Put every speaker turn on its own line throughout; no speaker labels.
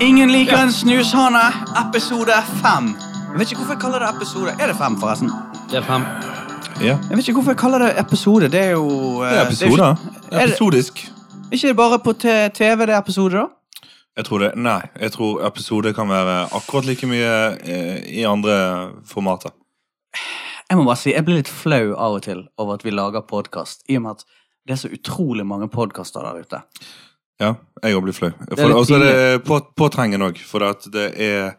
Ingen liker en snushane, episode fem. Jeg vet ikke hvorfor jeg kaller det episode. Er det fem, forresten?
Det er fem.
Ja.
Jeg vet ikke hvorfor jeg kaller det episode. Det er jo eh,
Det er episoder.
er det-
Episodisk.
ikke, ikke det bare på te- TV det er episode, da?
Jeg tror det, nei, jeg tror episode kan være akkurat like mye eh, i andre formater.
Jeg må bare si, jeg blir litt flau av og til over at vi lager podkast, i og med at det er så utrolig mange podkaster der ute.
Ja, jeg òg blir flau.
Det er litt
Og så er det på, påtrengende òg, for at det er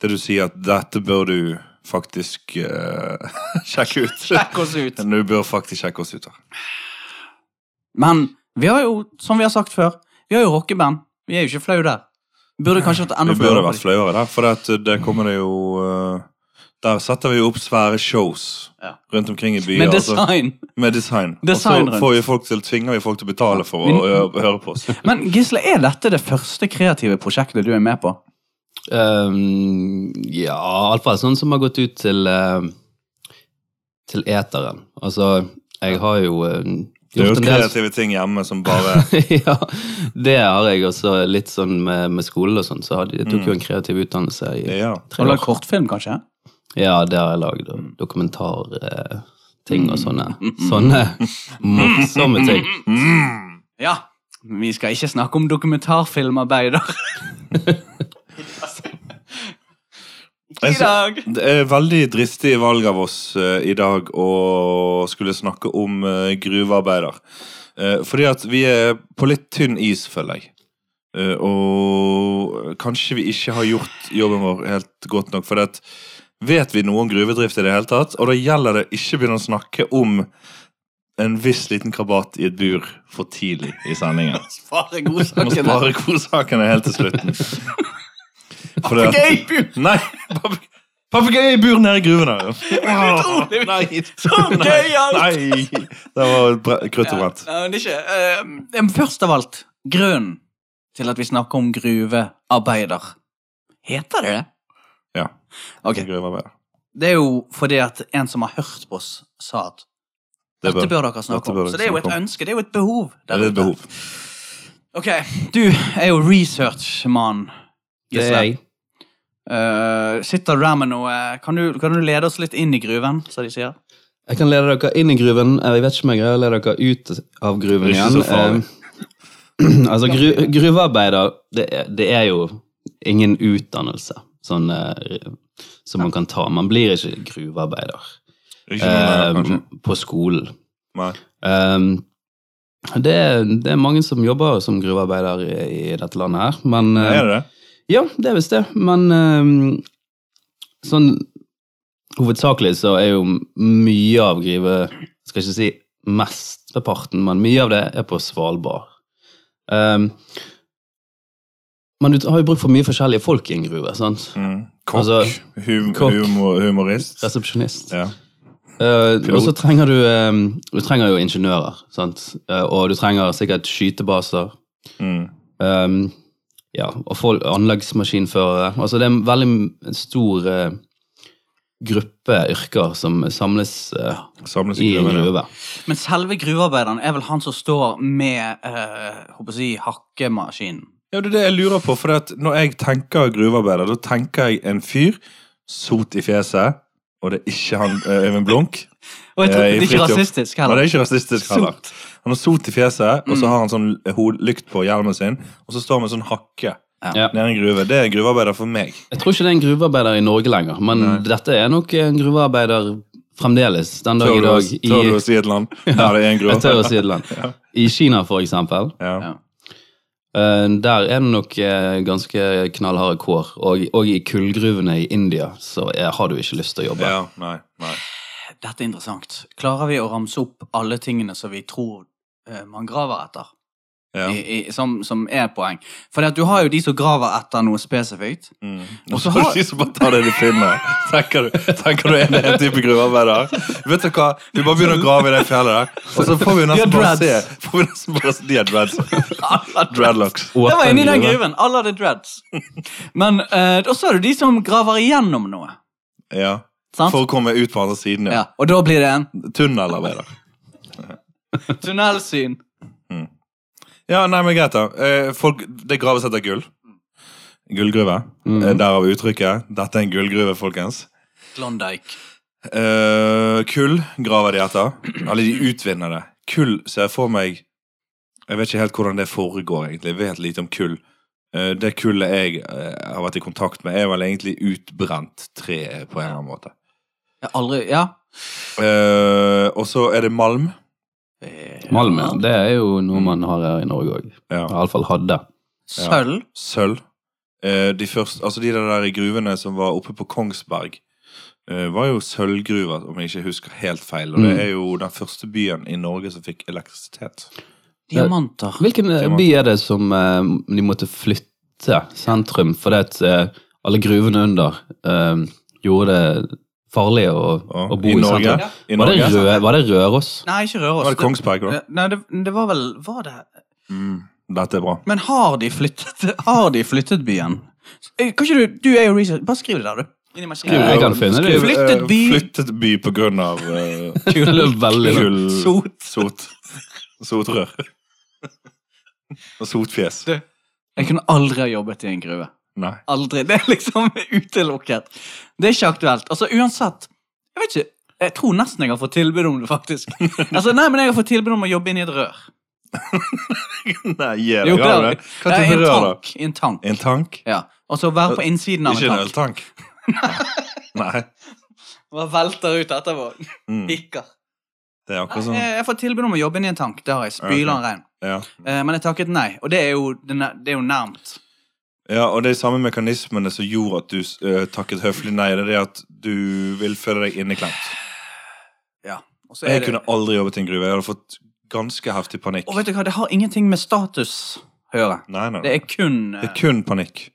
det du sier at dette bør du faktisk eh, sjekke ut.
Sjekk oss ut!
Du bør faktisk sjekke oss ut her.
Men vi har jo, som vi har sagt før, vi har jo rockeband. Vi er jo ikke flau der. Burde kanskje vært enda
Vi burde
flauere.
vært flauere der, for at der kommer det jo eh, Der setter vi jo opp svære shows
Ja.
rundt omkring i byer.
Med
altså.
design.
Med design.
Design
og
rundt.
så får vi folk til, tvinger vi folk til å betale for å, å høre på oss.
Men Gisle, er dette det første kreative prosjektet du er med på?
Um, ja, iallfall sånn som har gått ut til um, til eteren. Altså, jeg har jo um,
Det er jo
gjort en del
kreative ting hjemme som bare
ja, det har jeg også. Litt sånn med, med skole og sånn, så hadde, jeg tok
Mm.
jo en kreativ utdannelse i
Ja.
tre
Eller
år.
kortfilm, kanskje?
Ja, det har jeg lagd. og Dokumentarting ting
Mm.
og sånne, sånne morsomme ting.
Ja. Vi skal ikke snakke om dokumentarfilmarbeider i
Jeg sy-
dag.
Det er veldig dristig valg av oss eh, i dag å skulle snakke om eh, gruvearbeider. Eh, fordi at vi er på litt tynn is, føler jeg. Eh, og kanskje vi ikke har gjort jobben vår helt godt nok. For at vet vi noe om gruvedrift i det hele tatt? Og da gjelder det ikke å begynne å snakke om en viss liten krabat i et bur for tidlig i sendingen.
Spare
Vi må
godsakene.
spare godsakene helt til slutten. For det-
Papegøyebur!
Nei! papeg- Papegøye i bur nede i gruven her.
Utrolig.
Nei.
Så gøy alt.
Nei! Det var bre- krutt og brent.
Nei, men ikke. eh, men først av alt, grunnen til at vi snakker om gruvearbeider. Heter det det?
Ja.
Ok,
gruvearbeider.
Det er jo fordi at en som har hørt på oss, sa at
Det
dette
bør-
bør dere snakke
dette bør
om.
dere
Så det er jo et
snakke om.
ønske, det er jo et behov.
Ja,
der
det er et
ute.
behov.
Ok, du er jo researchmann.
Det er jeg.
Eh, sitter der med noe kan du, kan du lede oss litt inn i gruven, som de sier?
Jeg kan lede dere inn i gruven. Eh, Jeg vet ikke om jeg greier å lede dere ut av gruven
Det er ikke
igjen.
så farlig.
Eh, altså, gru, gruvearbeider, det er, det er jo ingen utdannelse sånn, eh, som man kan ta. Man blir ikke gruvearbeider
Ikke noe mer,
eh,
kanskje.
på skolen.
Nei.
Ehm, det, er- det er mange som jobber som gruvearbeider i, i dette landet her, men eh,
Er det det?
ja, det er visst det, men ehm, sånn hovedsakelig så er jo mye av Grive, skal ikke si mesteparten, men mye av det er på Svalbard. Ehm, men du har jo bruk for mye forskjellige folk i en gruve, sant?
Mm. Kokk.
Altså,
hum,
kokk.
Humor, humorist.
Resepsjonist.
Ja.
Eh,
Pilot.
og så trenger du, ehm, du trenger jo ingeniører, sant? Eh, og du trenger sikkert skytebaser.
Mm.
Ehm, ja, og folk, anleggsmaskinførere. Altså det er en veldig m- en stor eh, gruppe yrker som samles eh,
Samles
i
i
en
gruven.
gruve.
ja.
Men selve gruvearbeideren er vel han som står med eh, håper jeg å si, hakkemaskinen.
Ja, det er det jeg lurer på, for at når jeg tenker gruvearbeider, da tenker jeg en fyr, sot i fjeset, og det er ikke han, eh, Øyvind Blunk.
Og jeg tror,
Eh,
det
i
er ikke
fritt jobb.
rasistisk
Nei, det
heller.
er ikke rasistisk heller. Han har sot i fjeset, og
Mm.
så har han sånn hod- lykt på hjelmen sin, og så står han med sånn hakke
Ja.
nede i en gruve. Det er en gruvearbeider for meg.
Jeg tror ikke det er en gruvearbeider i Norge lenger, men dette er nok en gruvearbeider fremdeles den dag i
Tør du, å-
dag. I,
tør du å si et land der det er en
jeg tør å
gruvearbeider?
si et land. I Kina, for eksempel.
Ja.
Eh, der er det nok eh, ganske knallharde kår. Og, og i kullgruvene i India så eh, har du ikke lyst til å jobbe.
ja, nei, nei.
Dette er interessant. Klarer vi å ramse opp alle tingene som vi tror eh, man graver etter?
Ja.
I, i, som, som er et poeng. For du har jo de som graver etter noe spesifikt.
Mm.
Og
Og
så
så
har-
har du de som bare tar det du finner. Tenker du, tenker du er det en type gruvearbeider? Vet du hva? Vi bare begynner å grave i det fjellet der, og så får vi jo nesten
De har
bare se.
dreads.
Får vi nesten bare se de har dreads. Dreadlocks.
Det var inne i den
Åpen gruve.
gruven. Alle hadde dreads. Men eh, også er det de som graver igjennom noe.
Ja.
Sant?
For å komme ut på andre siden, ja.
Ja, og da blir det en
Tunnelarbeid.
tunnelsyn.
Ja, nei, men greit, da. Eh, folk, det graves etter gull. Gullgruve. Eh, Derav uttrykket. Dette er en gullgruve, folkens.
Klondyke.
Eh, kull graver de etter. Eller de utvinner det. Kull ser jeg for meg Jeg vet ikke helt hvordan det foregår, egentlig. Jeg vet lite om kull. Eh, det kullet jeg eh, har vært i kontakt med, er vel egentlig utbrent tre på en eller annen måte.
Jeg har aldri Ja.
Eh, og så er det malm.
Eh,
Malmen, det er jo noe man har her i Norge òg.
Ja.
Iallfall hadde.
Sølv.
Sølv. Eh, de, første, altså de der i gruvene som var oppe på Kongsberg, eh, var jo sølvgruver, om jeg ikke husker helt feil. Og
Mm.
det er jo den første byen i Norge som fikk elektrisitet.
Diamanter.
Hvilken eh, by er det som eh, de måtte flytte sentrum fordi at eh, alle gruvene under eh, gjorde det farlig å,
Ja,
å bo
i
i,
Norge.
sentrum?
Ja.
I
Var det,
Norge
Rø var det Røros?
Nei, ikke Røros.
var det Kongsberg, da.
Det- Nei, det, det var vel Var det
Mm. Dette er bra.
Men har de flyttet, har de flyttet byen? Eh, Kan ikke du Du er jo research. Bare skriv det der, du. Inni maskinen.
Jeg kan finne det.
Skriv, eh,
Flyttet by.
Flyttet by på grunn av eh,
Det er veldig langt.
kull...
Sot.
Sot. Sotrør. Og sotfjes.
Du. Jeg kunne aldri ha jobbet i en gruve.
Nei.
Aldri. Det er liksom utelukket. Det er ikke aktuelt. Altså, uansett Jeg vet ikke. Jeg tror nesten jeg har fått tilbud om det, faktisk. Altså, nei, men jeg har fått tilbud om å jobbe inn i et rør.
Nei, gi
Jo,
deg. har du
det-
det? Hva
Nei, i
type
en
rør, da?
tank. I en tank.
En tank?
Ja. Og så være på innsiden av
Ikke en
en tank.
øltank? Nei.
Og bare velter ut etterpå.
Mm.
Hikker.
Det er
Nei,
akkurat sånn.
jeg, jeg får tilbud om å jobbe inn i en tank. Det har jeg. Spyler
Ok.
og regn.
Ja.
Eh, Men jeg takket nei. Og det er jo, det er nær- det er jo nærmt.
Ja, og det er samme mekanismene som gjorde at du eh, takket høflig nei. Det er det at du vil føle deg inneklemt.
Ja. Og så er
Jeg
det-
kunne aldri jobbet i en gruve. Jeg hadde fått ganske heftig panikk.
Og vet du hva, det har ingenting med status å gjøre.
Nei, nei.
Det er kun eh,
Det er kun panikk.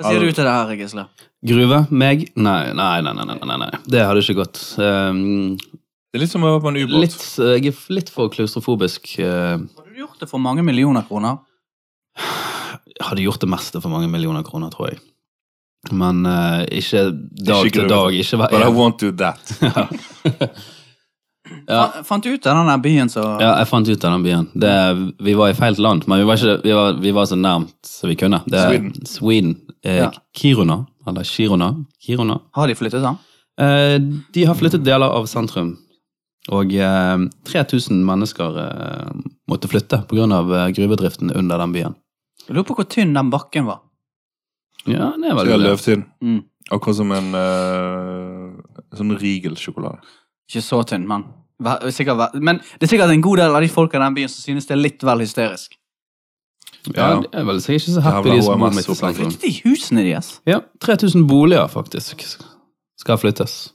Hva sier du til det her, Gisle?
Gruve? Meg? Nei, nei, nei. nei, nei, nei, nei. Det hadde ikke gått. Um,
Det er litt som å være på en ubåt.
litt, eh, jeg er litt for klaustrofobisk. eh,
Har du gjort det for mange millioner kroner?
Jeg hadde gjort det meste for mange millioner kroner, tror jeg. Men eh, ikke dag
gruve.
til dag. Ikke hver
But I won't do that.
Ja.
Fa- Fant du ut av den der byen som
Ja, jeg fant ut av den byen. Det, vi var i feil land, men vi var, ikke, vi var, vi var så nærmt som vi kunne. Det,
Sweden.
Sweden. Eh,
Ja.
Kiruna, eller Kiruna. Kiruna.
Har de flyttet den?
Eh, de har flyttet deler av sentrum, og eh, 3000 mennesker eh, måtte flytte pga. Eh, gruvedriften under den byen.
Jeg lurer på hvor tynn den bakken var.
Ja, det er
Så
vel
jeg har løvtynn.
Mm.
Akkurat som en eh, sånn Riegel-sjokolade.
Ikke så tynn, men Vær- sikkert, vær- Men det er sikkert en god del av de folka i den byen som synes det er litt vel hysterisk.
Ja, det er vel sikkert ikke så happy,
Jævla
de som bor
HMS
midt i
opplegg.
sentrum.
Flyttet de husene deres?
Ja, 3000 boliger, faktisk, skal flyttes.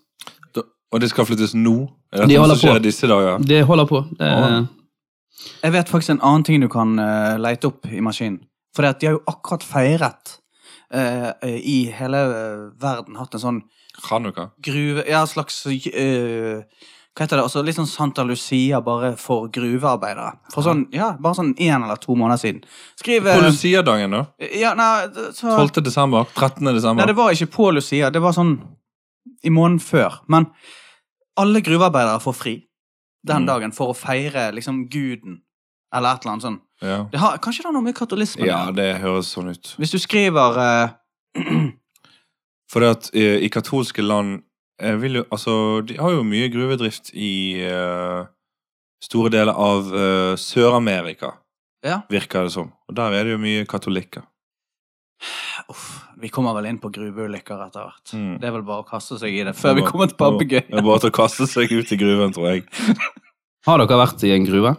Da- Og det skal flyttes nå?
De
Er dette noe
holder
som skjer
på.
disse dager?
Det holder på. Det
Ja.
er,
Jeg vet faktisk en annen ting du kan eh, lete opp i maskinen. For de har jo akkurat feiret eh, eh, i hele eh, verden hatt en sånn
Hanukka?
gruve... Ja, en slags eh, Hva heter det? Altså, litt sånn Santa Lucia bare for gruvearbeidere. For sånn, ja, Bare sånn én eller to måneder siden. Skriv eh,
På Lucia-dagen, da?
Ja, nei, det- så,
12. desember? 13.
nei,
desember?
det var ikke på Lucia. Det var sånn i måneden før. Men alle gruvearbeidere får fri den
Mm.
dagen for å feire liksom guden, eller et eller annet sånn.
Ja.
Det har, kanskje det har noe med katolisme å
ja,
gjøre.
det høres sånn ut.
Hvis du skriver eh,
For det at eh, i katolske land eh, vil jo, altså, De har jo mye gruvedrift i eh, store deler av eh, Sør-Amerika,
Ja.
virker det som. Og der er det jo mye katolikker.
Uff, vi kommer vel inn på gruveulykker etter hvert.
Mm.
Det er vel bare å kaste seg i det før vi kommer til papegøyen.
Det er bare til å kaste seg ut i gruven, tror jeg.
har dere vært i en gruve?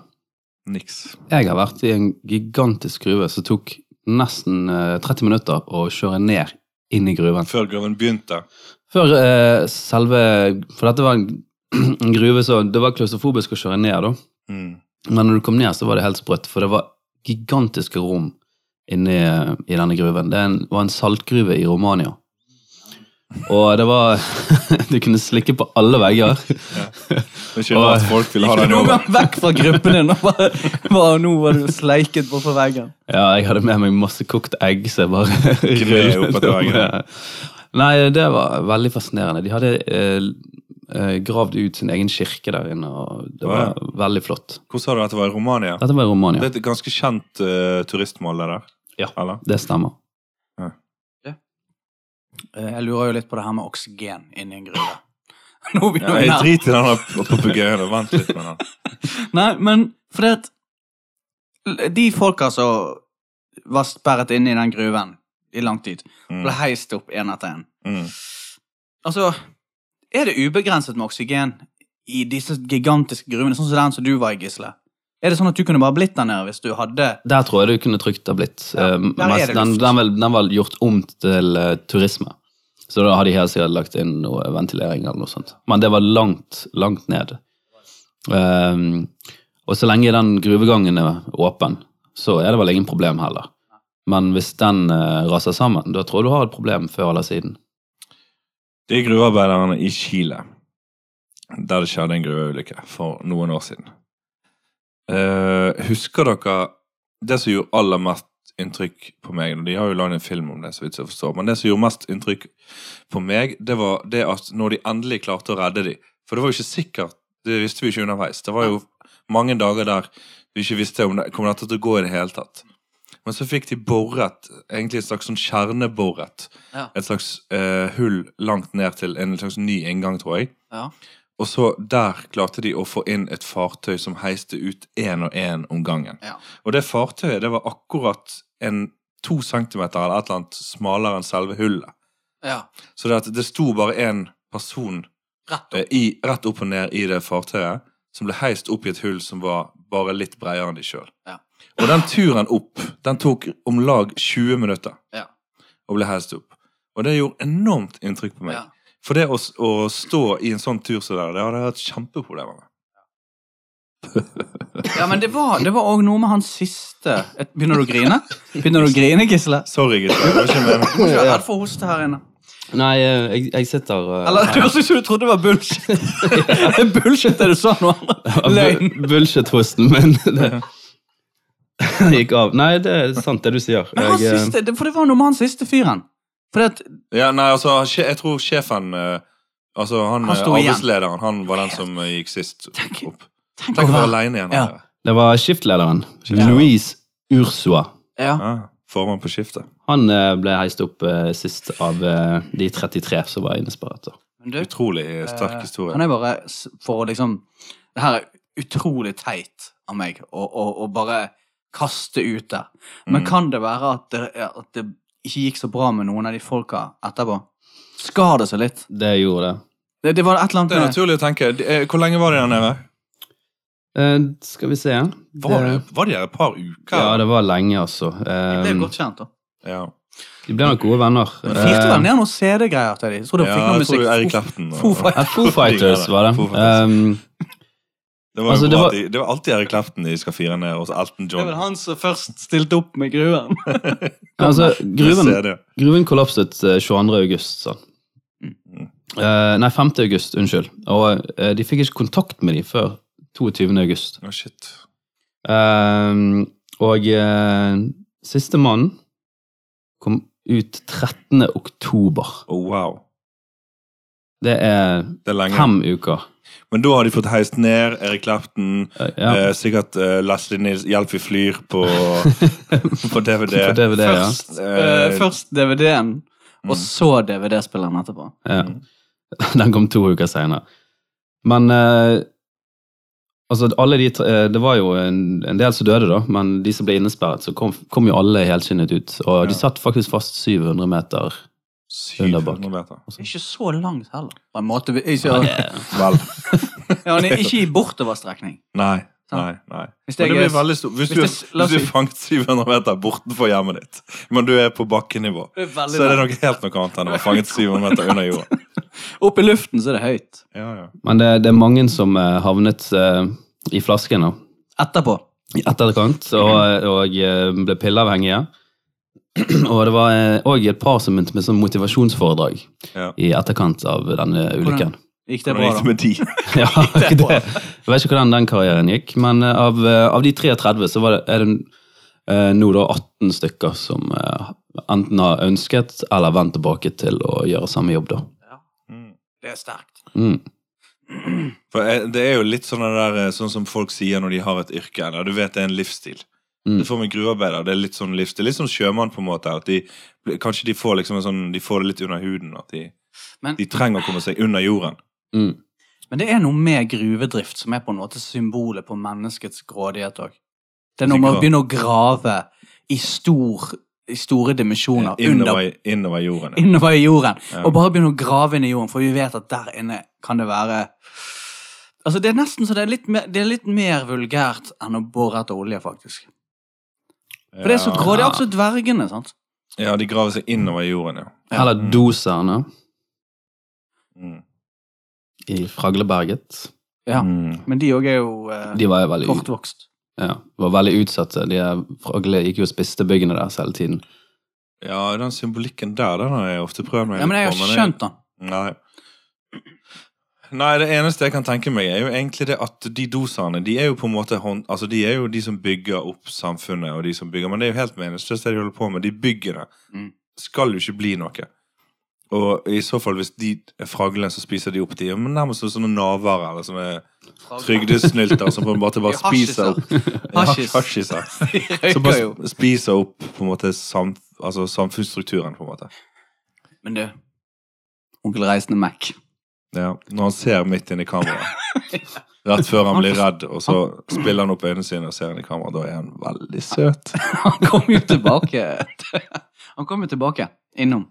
Niks.
Jeg har vært i en gigantisk gruve som tok nesten eh, 30 minutter å kjøre ned inn i gruven.
Før gruven begynte.
Før eh, selve For dette var en, en gruve, så det var klaustrofobisk å kjøre ned, da.
Mm.
Men når du kom ned, så var det helt sprøtt, for det var gigantiske rom inni i denne gruven. Det er en- var en saltgruve i Romania. Og det var Du kunne slikke på alle vegger.
Jeg skjønner at folk vil ha den
Noen
jobben.
gang vekk fra gruppen din, og bare, bare nå var du sleiket bortpå veggen.
Ja, jeg hadde med meg masse kokte egg, så jeg bare
Gned opp etter
rullet
veggen.
med. Nei, det var veldig fascinerende. De hadde eh, eh, gravd ut sin egen kirke der inne, og det var veldig flott.
Hvor sa du at det var i Romania?
Dette var i
Det
Romania.
er et ganske kjent eh, turistmål, det der.
Ja.
Eller?
Det stemmer.
Eh, Jeg lurer jo litt på det her med oksygen inni en gruve. Nå
Ja,
begynner vi
jeg
nærme-
driter i den der papegøyen. og Vent litt med den.
Nei, men fordi at De folka som var sperret inne i den gruven i lang tid,
Mm,
ble heist opp én etter én.
mm.
Altså, er det ubegrenset med oksygen i disse gigantiske gruvene, sånn som den som du var i, Gisle? Er det sånn at du kunne bare blitt der nede hvis du hadde
Der tror jeg du kunne trygt ha blitt.
Ja,
eh,
der er
mest-
det liksom
den,
luft.
den, vel, den var gjort om til eh, turisme. Så da har de helt sikkert lagt inn noe ventilering eller noe sånt. Men det var langt, langt ned. Ehm, og så lenge den gruvegangen er åpen, så er det vel ingen problem heller. Men hvis den eh, raser sammen, da tror jeg du har et problem før eller siden.
Det er gruvearbeiderne i Chile, der det skjedde en gruveulykke for noen år siden. Eh, husker dere det som gjorde aller mest inntrykk på meg? og De har jo lagd en film om det, så vidt jeg forstår. Men det som gjorde mest inntrykk på meg, det var det at når de endelig klarte å redde dem For det var jo ikke sikkert, det visste vi ikke underveis. Det var jo mange dager der vi ikke visste om det kom dette til å gå i det hele tatt. Men så fikk de boret, egentlig et slags sånn kjerneboret,
Ja.
et slags eh, hull langt ned til en slags ny inngang, tror jeg.
Ja.
Og så der klarte de å få inn et fartøy som heiste ut én og én om gangen.
Ja.
Og det fartøyet det var akkurat en to centimeter eller et eller annet smalere enn selve hullet.
ja.
Så det, at det sto bare én person
Rett
eh, i, rett opp og ned i det fartøyet, som ble heist opp i et hull som var bare litt bredere enn de sjøl.
Ja.
Og den turen opp, den tok om lag 20 minutter
Ja.
og ble heist opp. Og det gjorde enormt inntrykk på meg.
Ja.
For det å, s- å stå i en sånn tur som det der, det hadde jeg hatt kjempeproblemer med.
Ja, men det var det var òg noe med han siste Et- Begynner du å grine? Begynner du å grine, Gisle?
Sorry, gutter. Det var ikke meningen.
Du må ikke være redd for å hoste her inne.
Nei, eh, jeg, jeg sitter eh,
Eller det høres ut som du trodde det var bullshit. Det er bullshit det du sa nå. Løgn.
Bu- Bullshit-hosten min. Det den gikk av. Nei, det er sant det du sier.
Men han
Jeg, eh,
siste, det- for det var noe med han siste fyren. Fordi at,
Ja, nei, altså, han sje- jeg tror sjefen eh, Altså, han,
Han
eh,
sto igjen.
arbeidslederen, han var den som eh, gikk sist
Tenk-
opp.
tenk
Tenk å
å
være
være
aleine igjen.
Ja.
her.
Det var skiftlederen.
Ja.
Louise Ursua.
ja.
Ja, Formann på skiftet.
Han eh, ble heist opp eh, sist av eh, de 33 som var innesperret. da.
Men du,
Utrolig sterk
eh,
historie.
Han er bare s- for å liksom Det her er utrolig teit av meg å, å, å bare kaste ut der. Men
Mm.
kan det være at det, at det ikke gikk så bra med noen av de folka etterpå? Skar det seg litt?
Det gjorde det.
Det, det var et eller annet
Det er
med
naturlig å tenke. De- eh, Hvor lenge var de der nede?
Eh, skal vi se
Var, det... var de der et par uker?
Ja, det var lenge, altså. Eh,
Det ble jo godt kjent, da.
Ja.
de ble nok gode venner.
Firte vel
Eh,
ned noen CD-greier til dem? Så de
Ja,
fikk noe
jeg tror
musikk.
det er Eric
Foo-
Clapton. eh,
Foo
og-
Fighters.
Eh, Foo Fighters var det.
Foo Fighters.
Eh,
Det var, jo
Altså, det
bra
var-
at de, det var alltid Erik Clapton de skal fire ned, og så Elton
Det er
John.
vel han som først stilte opp med gruven.
altså, gruven,
Jeg ser det.
Gruven kollapset eh, 22. august, sa han.
Mm.
Eh, nei, 5. august, unnskyld. Og eh, de fikk ikke kontakt med dem før 22. august.
Å, shit.
Eh, og uh, siste mann kom ut 13. oktober.
Å, wow.
Det er
Det er lenge.
fem uker.
Men da har de fått heist ned Erik Clapton,
Eh, ja,
eh, sikkert eh, Leslie Nils 'Hjelp, vi flyr' på, på DVD.
på DVD, ja.
Først, eh,
Eh,
først DVD-en,
Mm.
og så DVD-spilleren etterpå.
Ja. Den kom to uker senere. Men eh, altså, alle de tre, eh, Det var jo en, en del som døde, da, men de som ble innesperret, så kom, kom jo alle helskinnet ut. Og
Ja.
de satt faktisk fast 700 meter.
700 meter.
Ikke så langt heller. På en måte. vi- Ikke,
Vel.
ja, han er ikke i bortoverstrekning.
Nei.
Sant.
Nei. nei.
Sånn. Hvis
Men
jeg
det blir
er-
veldig stort. Hvis,
hvis
du,
det
er-
s- la oss
hvis du er
si-
fanget 700 meter bortenfor hjemmet ditt, men du er på bakkenivå,
det er veldig
så er det
langt.
noe helt noe annet enn å være fanget 700 meter under jorda.
Opp i luften så er det høyt.
Ja, ja.
Men det, det er mange som eh, havnet eh, i flasken da,
Etterpå.
i etterkant, og, og eh, ble pilleavhengige. Og det var òg et par som begynte med sånn motivasjonsforedrag
Ja.
i etterkant av denne ulykken.
Gikk det
Hvordan
bra,
gikk det
da?
med de?
ja,
Det er
det,
bra.
jeg vet ikke hvordan den karrieren gikk, men eh, av, eh, av de 33 så var det, er det eh, nå da 18 stykker som eh, enten har ønsket eller vendt tilbake til å gjøre samme jobb, da.
Mm.
Det er sterkt.
Mm.
For eh, det er jo litt sånn, det der, eh, sånn som folk sier når de har et yrke. Eller du vet det er en livsstil.
Mm.
Det får med gruvearbeider. Det er litt sånn livsstil. Litt sånn sjømann, på en måte. At de, kanskje de får, liksom en sånn, de får det litt under huden. At de,
Men-
de trenger å komme seg under jorden.
Mm.
Men det er noe med gruvedrift som er på en måte symbolet på menneskets grådighet òg. Det er noe med å
Sikkert.
begynne å grave i, stor, i store dimensjoner under,
Innover, innover jorden. ja.
innover i jorden.
Ja.
Og bare begynne å grave inn i jorden, for vi vet at der inne kan det være Altså, det er nesten så det er litt mer, det er litt mer vulgært enn å bore etter olje, faktisk. For det er så grådig. Også dvergene, sant.
Ja, de graver seg innover jorden, ja.
Ja.
Eller doserne
Mm.
i Fragleberget.
Ja.
Mm.
Men de òg er jo eh,
De var jo veldig, ut-
kortvokst.
ja, var veldig utsatte. De er- Fragle gikk jo og spiste byggene deres hele tiden.
Ja, den symbolikken der, den har jeg ofte prøvd meg
Ja, men jeg
litt
har
på,
ikke skjønt den.
Nei. Nei, det eneste jeg kan tenke meg, er jo egentlig det at de doserne de er jo på en måte hånd, altså de er jo de som bygger opp samfunnet, og de som bygger, men det er jo helt meningsløst det de holder på med. De bygger det.
Mm.
Skal jo ikke bli noe. Og i så fall, hvis de er fraglene, så spiser de opp de er nærmest som sånne navere eller sånne trygdesnylter som på en måte bare
Ja,
spiser
liksom.
opp
Hasjis.
Hasjiser. Som
Røyker jo.
bare spiser opp på en måte sam, altså samfunnsstrukturen, på en måte.
Men du, onkel Reisende Mac
Ja, når han ser midt inn i kameraet. Rett før han blir redd, og så spiller han opp øynene sine og ser inn i kameraet. Da er han veldig søt.
Han kom jo tilbake. Han kom jo tilbake. Innom.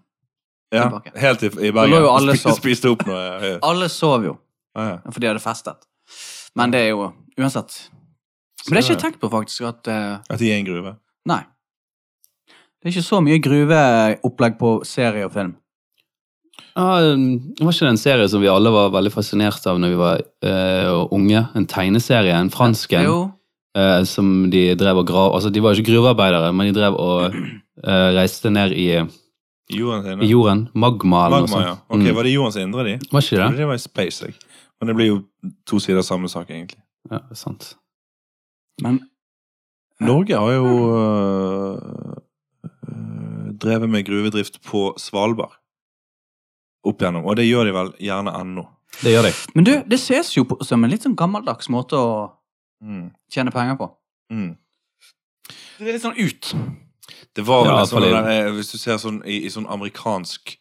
Ja,
Tilbake.
Helt i, i
Da lå
Bergen.
jo alle
Spi-
sov.
spiste opp noe. Ja,
Alle sov jo,
ja.
for de hadde festet. Men det er jo Uansett. Men det er ikke jeg tenkt på, faktisk, at eh,
At de er i en gruve.
Nei. Det er ikke så mye gruveopplegg på serie og film.
Ja, um, det var ikke det en serie som vi alle var veldig fascinert av når vi var eh, unge? En tegneserie, en fransk en,
Jo,
eh, som de drev og grav... Altså, de var jo ikke gruvearbeidere, men de drev og eh, reiste ned i,
Johan sine.
i jorden. Magma eller
Magma, ja.
noe sånt.
Ok,
Mm.
Var det Johans indre, de?
Var ikke
Ja.
det?
Det var i Space, jeg. Men det blir jo to sider av samme sak, egentlig.
Ja, sant.
men
Norge har jo øh, øh, drevet med gruvedrift på Svalbard opp igjennom, og det gjør de vel gjerne ennå.
Det gjør de.
Men du, det ses jo på, som en litt sånn gammeldags måte å
Mm.
tjene penger på.
Mm.
Det er litt sånn ut.
Det var vel
Ja,
en sånn
fordi-
der, eh, Hvis du ser sånn i, i sånn amerikansk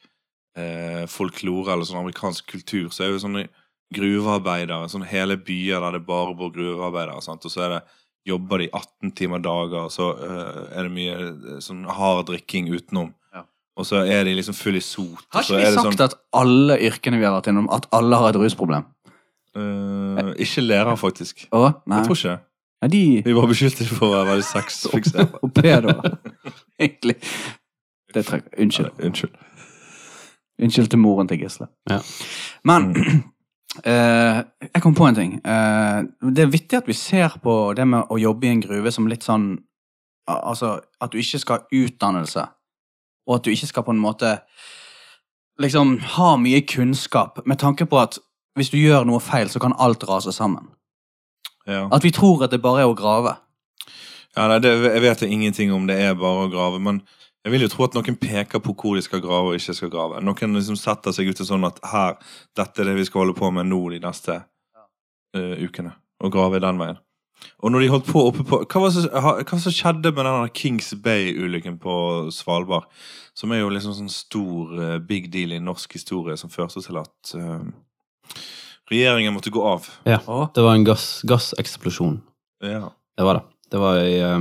eh, folklore eller sånn amerikansk kultur, så er jo sånne gruvearbeidere sånn Hele byer der det bare bor gruvearbeidere, sant? og så er det jobber de 18 timer dager, og så eh, er det mye eh, sånn hard drikking utenom.
Ja.
Og så er de liksom full i sot.
Har
og så
ikke vi
er det
sagt at alle yrkene vi har vært innom, at alle har et rusproblem?
sånn, eh, Ikke lærer, faktisk.
Å, nei.
Jeg tror ikke det.
Ja, de
Vi var beskyldte for å være veldig sexfikserte.
og pedoer. Egentlig. Det trekk. Unnskyld.
Unnskyld.
Unnskyld til moren til Gisle.
Ja.
Men eh, jeg kom på en ting. Eh, det er vittig at vi ser på det med å jobbe i en gruve som litt sånn al- Altså at du ikke skal ha utdannelse, og at du ikke skal på en måte liksom ha mye kunnskap, med tanke på at hvis du gjør noe feil, så kan alt rase sammen.
Ja.
At vi tror at det bare er å grave.
Ja, nei, det, Jeg vet ingenting om det er bare å grave, men jeg vil jo tro at noen peker på hvor de skal grave og ikke skal grave. Noen liksom setter seg ut til sånn at her, dette er det vi skal holde på med nå de neste eh, ukene. Og grave den veien. Og når de holdt på oppe på Hva var det som- ha- hva som skjedde med den der Kings Bay-ulykken på Svalbard? Som er jo liksom sånn stor eh, big deal i norsk historie, som førte til at eh, regjeringen måtte gå av.
Å,
Det var en gass, gasseksplosjon.
Ja.
Det var det. Det var i eh,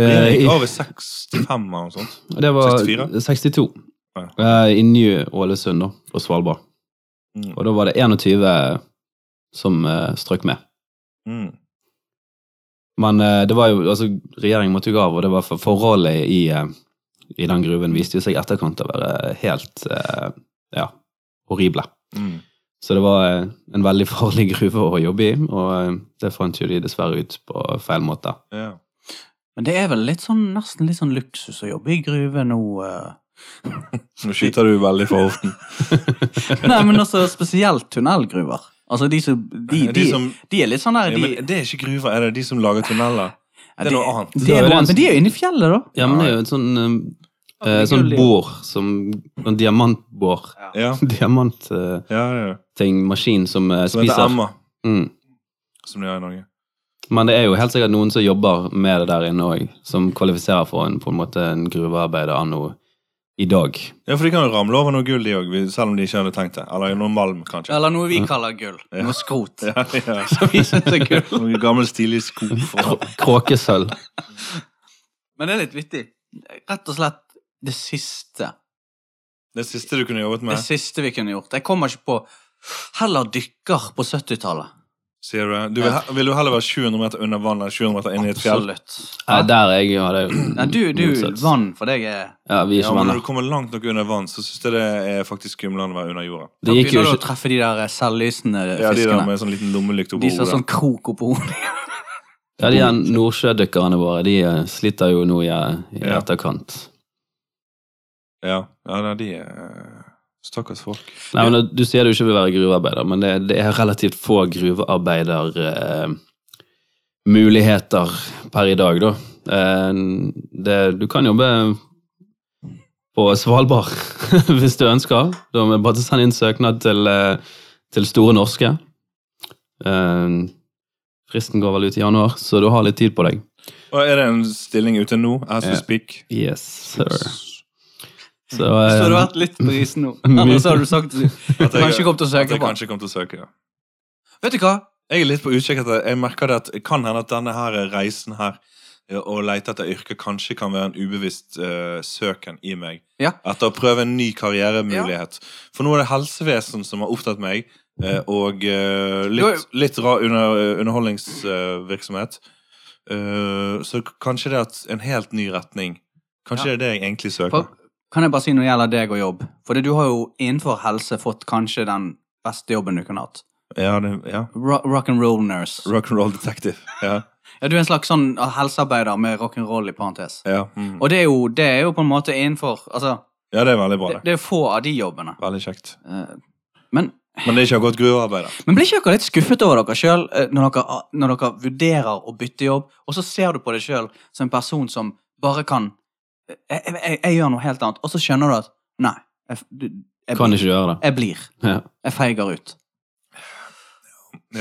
eh,
Regjeringen
i-
gikk av i 65 eller noe sånt.
Det var
64?
62.
Ja.
Eh, I Ny-Ålesund, da, på Svalbard.
Mm.
Og da var det 21 som eh, strøk med.
Mm.
Men eh, det var jo, altså, regjeringen måtte jo gå av, og det var for, forholdet i, eh, i den gruven viste jo seg i etterkant å være helt eh, ja, horrible.
Mm.
Så det var eh, en veldig farlig gruve å jobbe i, og eh, det fant jo de dessverre ut på feil måte.
Ja.
Men det er vel litt sånn, nesten litt sånn luksus å jobbe i gruve nå. eh.
Nå skyter du veldig fra hoften.
Nei, men altså spesielt tunnelgruver. Altså de som De, de,
De som,
de er litt sånn der
ja,
de,
men det er ikke gruver, er det de som lager tunneler?
ja,
det er noe annet.
de-
Det
Det
er
er
vel
noe annet.
en-
Men de er jo inne i fjellet, da.
Ja, men det er jo et sånn, eh, eh, sånn bor, som sånn en diamantbor.
Ja,
Diamantting,
ja, ja.
maskin som eh,
Som heter
spiser
Emma,
Mm.
som de har i Norge.
Men det er jo helt sikkert noen som jobber med det der inne òg, som kvalifiserer for en, på en, måte, en gruvearbeider anno i dag.
Ja, for de kan jo ramle over noe gull, de òg, selv om de ikke hadde tenkt det. Eller noe malm, kanskje.
Eller noe vi kaller gull. Noe skrot.
Ja, ja.
Som vi synes er gull.
Noe gammel, stilig sko. fra-
Kråkesølv.
Men det er litt vittig. Rett og slett det siste.
Det siste du kunne jobbet
Det
med,
siste vi kunne gjort. Jeg kommer ikke på Heller dykker på 70-tallet.
sier du det? Du vil, he- vil du heller være 700 meter under vann enn 700 meter inne i et fjell?
Absolutt.
Nei, der er jeg hadde jo
Nei, du, du
motsatt.
vann for deg er
Ja, vi er
Ja,
ikke
men
venner.
når du kommer langt nok under vann, så syns jeg det er faktisk skumlende å være under jorda.
Da
Det gikk jo
begynner du å
ikke
treffe de der selvlysende
Ja, de der
fiskene.
med sånn liten lommelykt
De som
oppå
har
hodet.
sånn krok oppå hodet.
Ja, de der nordsjødykkerne våre, de eh, sliter jo nå i, i
Ja.
etterkant.
Ja, ja nei, de er Stakkars folk.
Nei, men Du sier du ikke vil være gruvearbeider, men det, det er relativt få gruvearbeidermuligheter muligheter per i dag, da. Eh, det, du kan jobbe på Svalbard hvis du ønsker. Da må jeg bare sende inn søknad til, eh, til Store norske. Eh, fristen går vel ut i januar, så du har litt tid på deg.
Og er det en stilling ute nå? As we
Ja.
speak?
Yes, sir. Så,
Så hadde du
eh,
vært litt på isen nå. Ellers hadde du sagt du
At jeg-
kanskje kom til å
at
søke
jeg
på.
kanskje kom til å søke, ja.
Vet du hva?
Jeg er litt på utkikk etter Jeg merker det at det kan hende at denne her reisen her eh, å lete etter yrke kanskje kan være en ubevisst eh, søken i meg.
Ja.
Etter å prøve en ny karrieremulighet. For nå er det helsevesen som har opptatt meg, eh, og eh,
Jo, jo.
litt, litt rar under, eh, underholdningsvirksomhet. Eh, så k- kanskje det er at en helt ny retning. Kanskje det er det jeg egentlig søker.
For, kan jeg bare si når det gjelder deg og jobb? For det, du har jo innenfor helse fått kanskje den beste jobben du kunne hatt.
Ja, det, ja.
Ro rock and roll nurse.
Rock'n'roll detective. Ja.
Ja, du er en slags sånn helsearbeider med rock and roll i parentes.
Ja. Mm.
Og det er jo, det er jo på en måte innenfor Altså,
ja, det er veldig bra,
det,
det.
det er få av de jobbene.
Veldig kjekt.
Eh, Men,
Men det er ikke akkurat gruvearbeid, da.
men blir ikke dere litt skuffet over dere sjøl når, dere- ah, når dere vurderer å bytte jobb, og så ser du på deg sjøl som en person som bare kan eh, jeg, jeg, jeg, jeg gjør noe helt annet, og så skjønner du at Nei, jeg, f- du- jeg,
kan ikke gjøre det.
jeg blir.
Ja.
Jeg feiger ut.
Ja.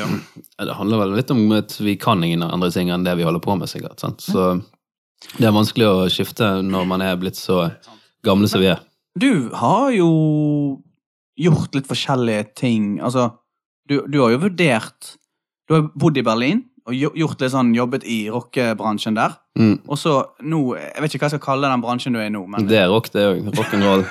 Ja, Det handler vel litt om at vi kan ingen andre ting enn det vi holder på med, sikkert. Sant? Så det er vanskelig å skifte når man er blitt så gamle som vi er.
Du har jo gjort litt forskjellige ting. Altså, du, du har jo vurdert Du har bodd i Berlin og gjo- gjort litt sånn, jobbet i rockebransjen der.
Mm.
Og så nå Jeg vet ikke hva jeg skal kalle den bransjen du er i nå, men eh,
Det er rock, det òg. Rock'n'roll.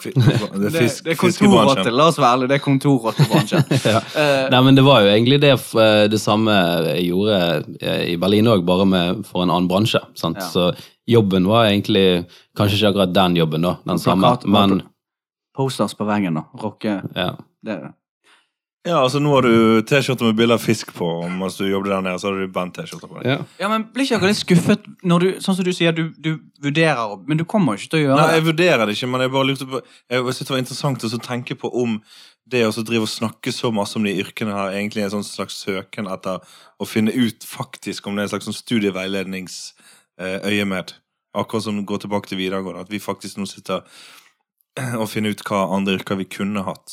Fi- Det
det,
er fisk,
det er kontorrotte.
fiskebransjen.
La oss være ærlige, det er kontorrottebransjen.
ja.
Eh,
Nei, men det var jo egentlig det, f- eh, det samme jeg gjorde eh, i Berlin òg, bare med, for en annen bransje. Sant?
Ja.
Så jobben var egentlig kanskje ikke akkurat den jobben, da. Den samme.
plakat-
Men
posters på veggen og rocke
ja.
det.
Ja, altså Nå har du T-skjorte med bilde av fisk på, og mens du jobbet der nede, så hadde du band-T-skjorte på deg.
Ja.
Ja, men Blir ikke dere litt skuffet når du sånn som du sier, du, du vurderer, men du kommer jo ikke til å gjøre
Nei,
det?
jeg vurderer det ikke, men jeg bare lurte på Jeg synes det var interessant å så tenke på om det å så drive og snakke så masse om de yrkene her egentlig er en sånn slags søken etter å finne ut faktisk om det er en slags sånn studieveiledningsøyemed. Akkurat som går tilbake til videregående. At vi faktisk nå sitter og finner ut hva andre yrker vi kunne hatt.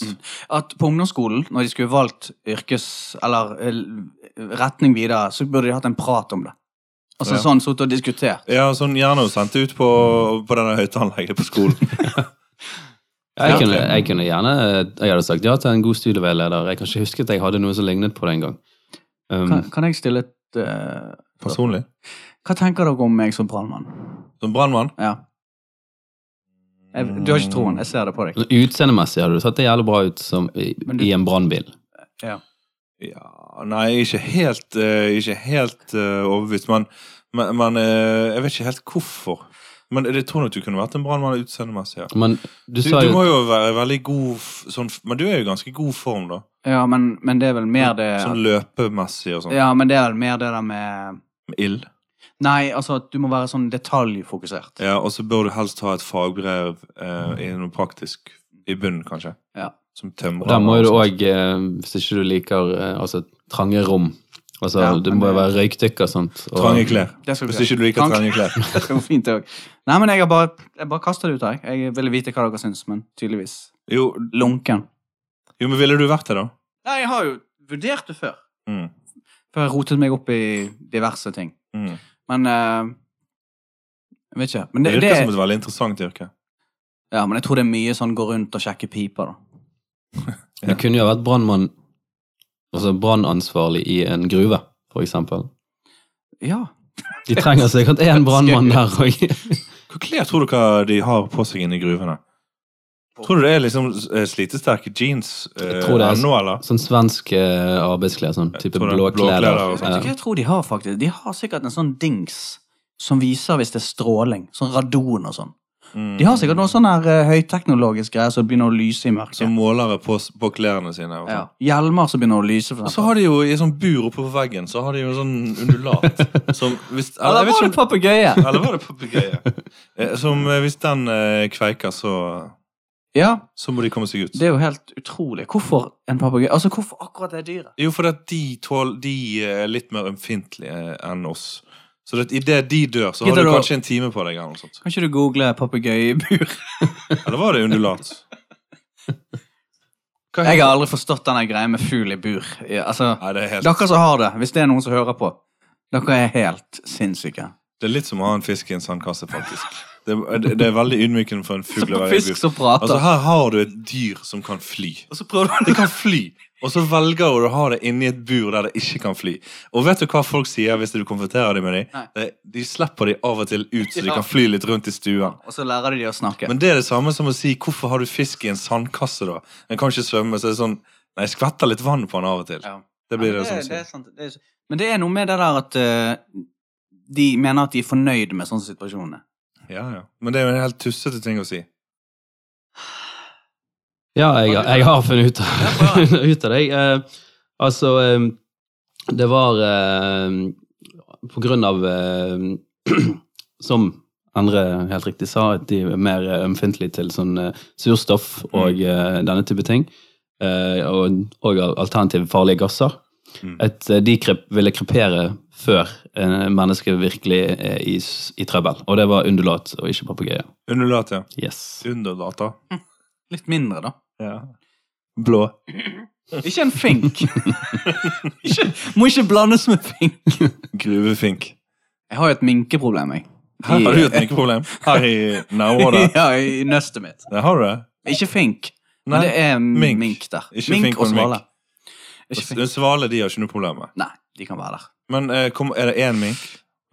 at på ungdomsskolen, når de skulle valgt yrkes... Eller eh, retning videre, så burde de hatt en prat om det. Altså
Ja.
sånn sittet og diskutert.
Ja, sånn gjerne å sendte ut på, på denne høyttalerlegget på skolen.
Jeg,
Ja.
kunne, jeg kunne gjerne Jeg hadde sagt ja til en god studieveileder. Jeg kan ikke huske at jeg hadde noe som lignet på det en gang. Um,
Mm.
Kan, kan jeg stille et eh,
Personlig.
Hva tenker dere om meg som brannmann?
Som brannmann?
Ja. Jeg, du har ikke troen. Jeg ser det på deg.
Så Utseendemessig hadde du sett det jævlig bra ut som i,
Men du-
i en brannbil.
Ja, nei, ikke helt, eh, ikke helt eh, overbevist. Men, men, men eh, jeg vet ikke helt hvorfor. Men jeg tror nok du kunne vært en brannmann utseendemessig. Ja.
Men du,
Du,
sa jo
du må jo være i veldig god f- sånn, f- Men du er jo i ganske god form, da.
Ja, men, men det er vel mer det
Sånn løpemessig og sånn.
Ja, men det er vel mer det der med
Med Ild.
Nei, altså at du må være sånn detaljfokusert.
Ja, og så bør du helst ha et fagbrev eh, i noe praktisk i bunnen, kanskje.
Ja.
Som tømrer.
Da må jo du òg, hvis ikke du liker eh, altså, trange rom Altså,
Ja,
Du
men
må jo
det-
være røykdykker, sant? Og-
Trange klær.
Det skal vi
Hvis
se.
ikke du liker
Trange-
trange klær.
Det går fint, det òg. Nei, men jeg har bare, jeg bare kastet det ut her. Jeg ville vite hva dere syns, men tydeligvis
Jo,
lunken.
jo, men ville du vært det, da?
Nei, jeg har jo vurdert det før.
Mm.
For jeg rotet meg opp i diverse ting.
Mm.
Men eh, Jeg vet ikke. Men,
Det
det,
virker som
det,
et veldig interessant yrke.
ja, men jeg tror det er mye sånn gå rundt og sjekke piper, da.
Ja.
Det kunne jo vært brannmann, altså brannansvarlig i en gruve, for eksempel.
Ja.
De trenger sikkert én brannmann der òg.
Hva klær tror dere de har på seg inne i gruvene? Tror du det er liksom eh, slitesterke jeans eh,
Jeg tror det er-
ennå, eller?
Sånn svensk eh, arbeidsklær, sånn type
tror det er
blå
blå
klær.
klær og sånt.
Vet du hva jeg tror de har, faktisk? De har sikkert en sånn dings som viser hvis det er stråling. Sånn radon og sånn.
Mm.
De har sikkert noe sånn her eh, høyteknologisk greie som begynner å lyse i
Som
mørket.
målere på, s- på klærne sine. Og
Ja.
sånn.
Hjelmer som begynner å lyse. For
Og så
eksempel.
har de jo i sånn bur oppe på veggen Så har de jo sånn undulat. som hvis, eller,
Eller
jeg
var
vet
det
ikke om-
papegøye?
eller var det papegøye? Eh, Som eh, hvis den eh, kveiker, så,
Ja,
så må de komme seg ut.
det er jo helt utrolig. Hvorfor en papegøye? Altså, hvorfor akkurat det dyret?
Jo, fordi at de, tål, de eh, er litt mer ømfintlige eh, enn oss. Så det, i det de dør, så har
Gidder
du
du å-
kanskje en time på deg. Eller, noe sånt.
Kan ikke du google papegøyebur?
eller var det undulat? Hva
Jeg har
heter-
aldri forstått denne greia med fugl i bur. Ja, altså,
Nei, det, er helt,
dere som har det, hvis det er noen som hører på. Dere er helt sinnssyke.
det er litt som å ha en fisk i en sandkasse, faktisk. Det, det, det er veldig ydmykende for en fugl å
Som
være i bur.
fisk som prater.
Altså, her har du et dyr som kan fly.
og så prøver du
Det kan fly, og så velger du å ha det inni et bur der det ikke kan fly. Og vet du hva folk sier hvis du konfronterer dem med dem?
Nei.
De, de slipper dem av og til ut, så de
Ja.
kan fly litt rundt i stuen.
Og så lærer de de å snakke.
Men det er det samme som å si 'hvorfor har du fisk i en sandkasse', da? Den kan ikke svømme, så er det sånn Nei, jeg skvetter litt vann på den av og til.
Ja.
Det blir
Ja,
det, sånn som
det, er
sier.
sant. Det er, men det er noe med det der at eh, de mener at de er fornøyd med sånne situasjoner.
Ja, ja. Men det er jo en helt tussete ting å si.
Ja, jeg, jeg har funnet ut,
Ja, bra.
ut av det. jeg. Eh, altså, eh, det var eh, på grunn av eh, Som Endre helt riktig sa, at de er mer eh, ømfintlige til sånn eh, surstoff og eh, denne type ting. eh, og, og alternative farlige gasser.
Mm.
At eh, de krep, ville krepere før eh, mennesket virkelig er i, s- i trøbbel. Og det var undulat og ikke papegøye.
Undulat, ja.
Yes.
Undulat, da.
Litt mindre, da.
Ja. Blå.
Ikke en fink. ikke, må ikke blandes med fink.
Gruvefink.
Jeg har jo et minkeproblem, jeg.
Her har du et mikroproblem. Her i nærområdet.
ja, i nøstet mitt.
Der har du det.
Ikke fink,
Nei,
men det er
mink.
mink, der.
Ikke fink, men mink.
Ikke fink.
En svale de har ikke noe problem med.
Nei, de kan være der.
Men eh, kom, er det én mink?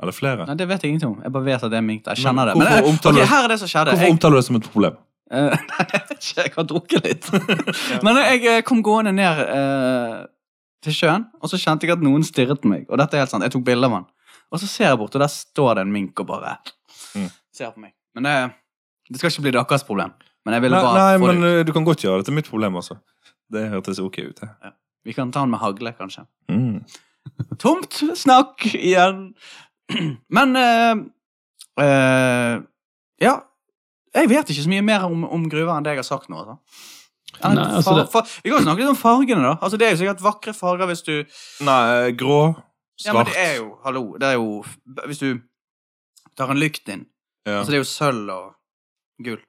Eller flere?
Nei, Det vet jeg ingenting om. Jeg bare vet at det er mink der. Jeg
Men
kjenner det.
hvorfor
Men, eh,
omtaler
ok,
du-
her er det som skjedde.
Hvorfor
Jeg,
omtaler du det som et problem?
Eh, Nei, jeg vet ikke. Jeg har drukket litt. Men jeg eh, kom gående ned eh, til sjøen, og så kjente jeg at noen stirret på meg. Og dette er helt sant, jeg tok bilde av han. Og så ser jeg bort, og der står det en mink og bare
Mm.
ser på meg. Men det, det skal ikke bli deres problem. Men jeg ville
Nei,
bare
nei
få
men
det ut.
eh, du kan godt gjøre det til mitt problem, altså. Det hørtes ok ut, det.
Vi kan ta den med hagle, kanskje.
Mm.
Tomt snakk igjen. Men eh, eh, Ja. Jeg vet ikke så mye mer om, om gruver enn det jeg har sagt nå. Altså. Eller,
Nei, altså,
far,
det-
far, vi kan jo snakke litt om fargene, da. Altså, det er jo sikkert vakre farger hvis du
Nei, eh, grå, svart
Ja, men det er jo Hallo, det er jo Hvis du tar en lykt inn
ja.
Altså, det er jo sølv og gull.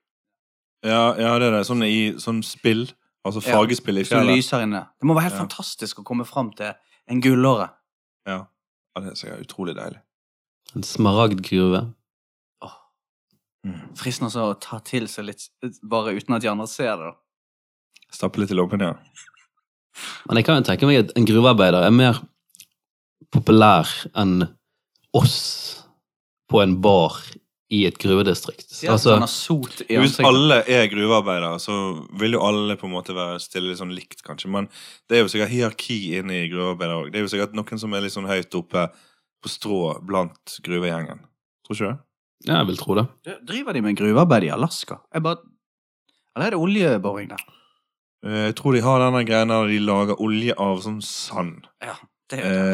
Ja, ja, det er det. Sånn i sånn spill. Altså
Ja.
fargespill i
Hvis du
fjellet.
lyser inne. Det må være helt
Ja.
fantastisk å komme fram til en gullåre.
Ja. ja, det er sikkert utrolig deilig.
En smaragdgruve.
Åh, Fristende også å ta til seg litt, bare uten at de andre ser det, da.
Stappe litt i lommen, ja.
Men jeg kan jo tenke meg at en gruvearbeider er mer populær enn oss på en bar i et gruvedistrikt.
Sier at
Altså,
sånn,
han har sot i
Hvis
ansiktet.
alle er gruvearbeidere, så vil jo alle på en måte være stille litt sånn likt, kanskje. Men det er jo sikkert hierarki inne i gruvearbeidere òg. Det er jo sikkert noen som er litt sånn høyt oppe på strå blant gruvegjengen. Tror ikke du det?
ja, jeg vil tro det.
Driver de med gruvearbeid i Alaska? Jeg bare... Eller er det oljeboring der?
Eh, Jeg tror de har denne greia der de lager olje av sånn sand.
Ja, det er jo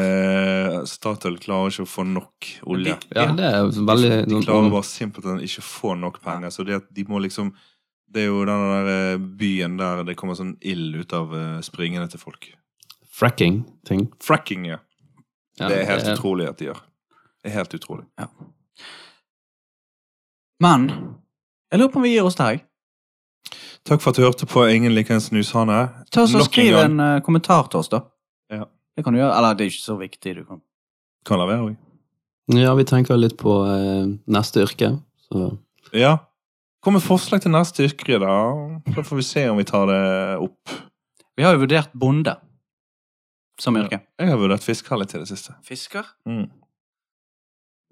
Eh, Statoil klarer ikke å få nok olje.
Big-
Ja,
Ja.
det er
De,
veldig
de klarer bare simpelthen ikke å få nok penger. Så det at de må liksom Det er jo den der eh, byen der det kommer sånn ild ut av eh, springene til folk.
fracking-ting.
Fracking, ja.
Ja,
Det er helt utrolig at de gjør. Det er helt utrolig.
Eh, Men, jeg lurer på om vi gir oss der. jeg.
Takk for at du hørte på Ingen liker en snushane.
Ta oss og
Nok en
skriv
gang.
en eh, kommentar til oss da.
Ja.
Det kan du gjøre. Eller det er ikke så viktig. Du kan.
Kan la være òg.
Ja, vi tenker litt på eh, neste yrke. Så
Ja. Kom med forslag til neste yrke, da. Så får vi se om vi tar det opp.
Vi har jo vurdert bonde som yrke.
Jeg har vurdert fiskehall til det siste.
Fisker?
Mm.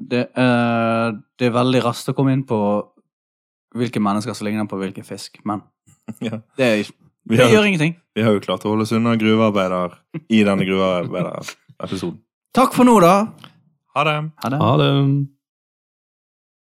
Det er, det er veldig raskt å komme inn på hvilke mennesker som ligner på hvilken fisk, men
Ja.
det, er,
Vi,
det
har,
gjør ingenting.
vi har jo klart å holde oss unna gruvearbeider i denne gruvearbeiderepisoden.
Takk for nå, da.
Ha det!
Ha det.
ha det.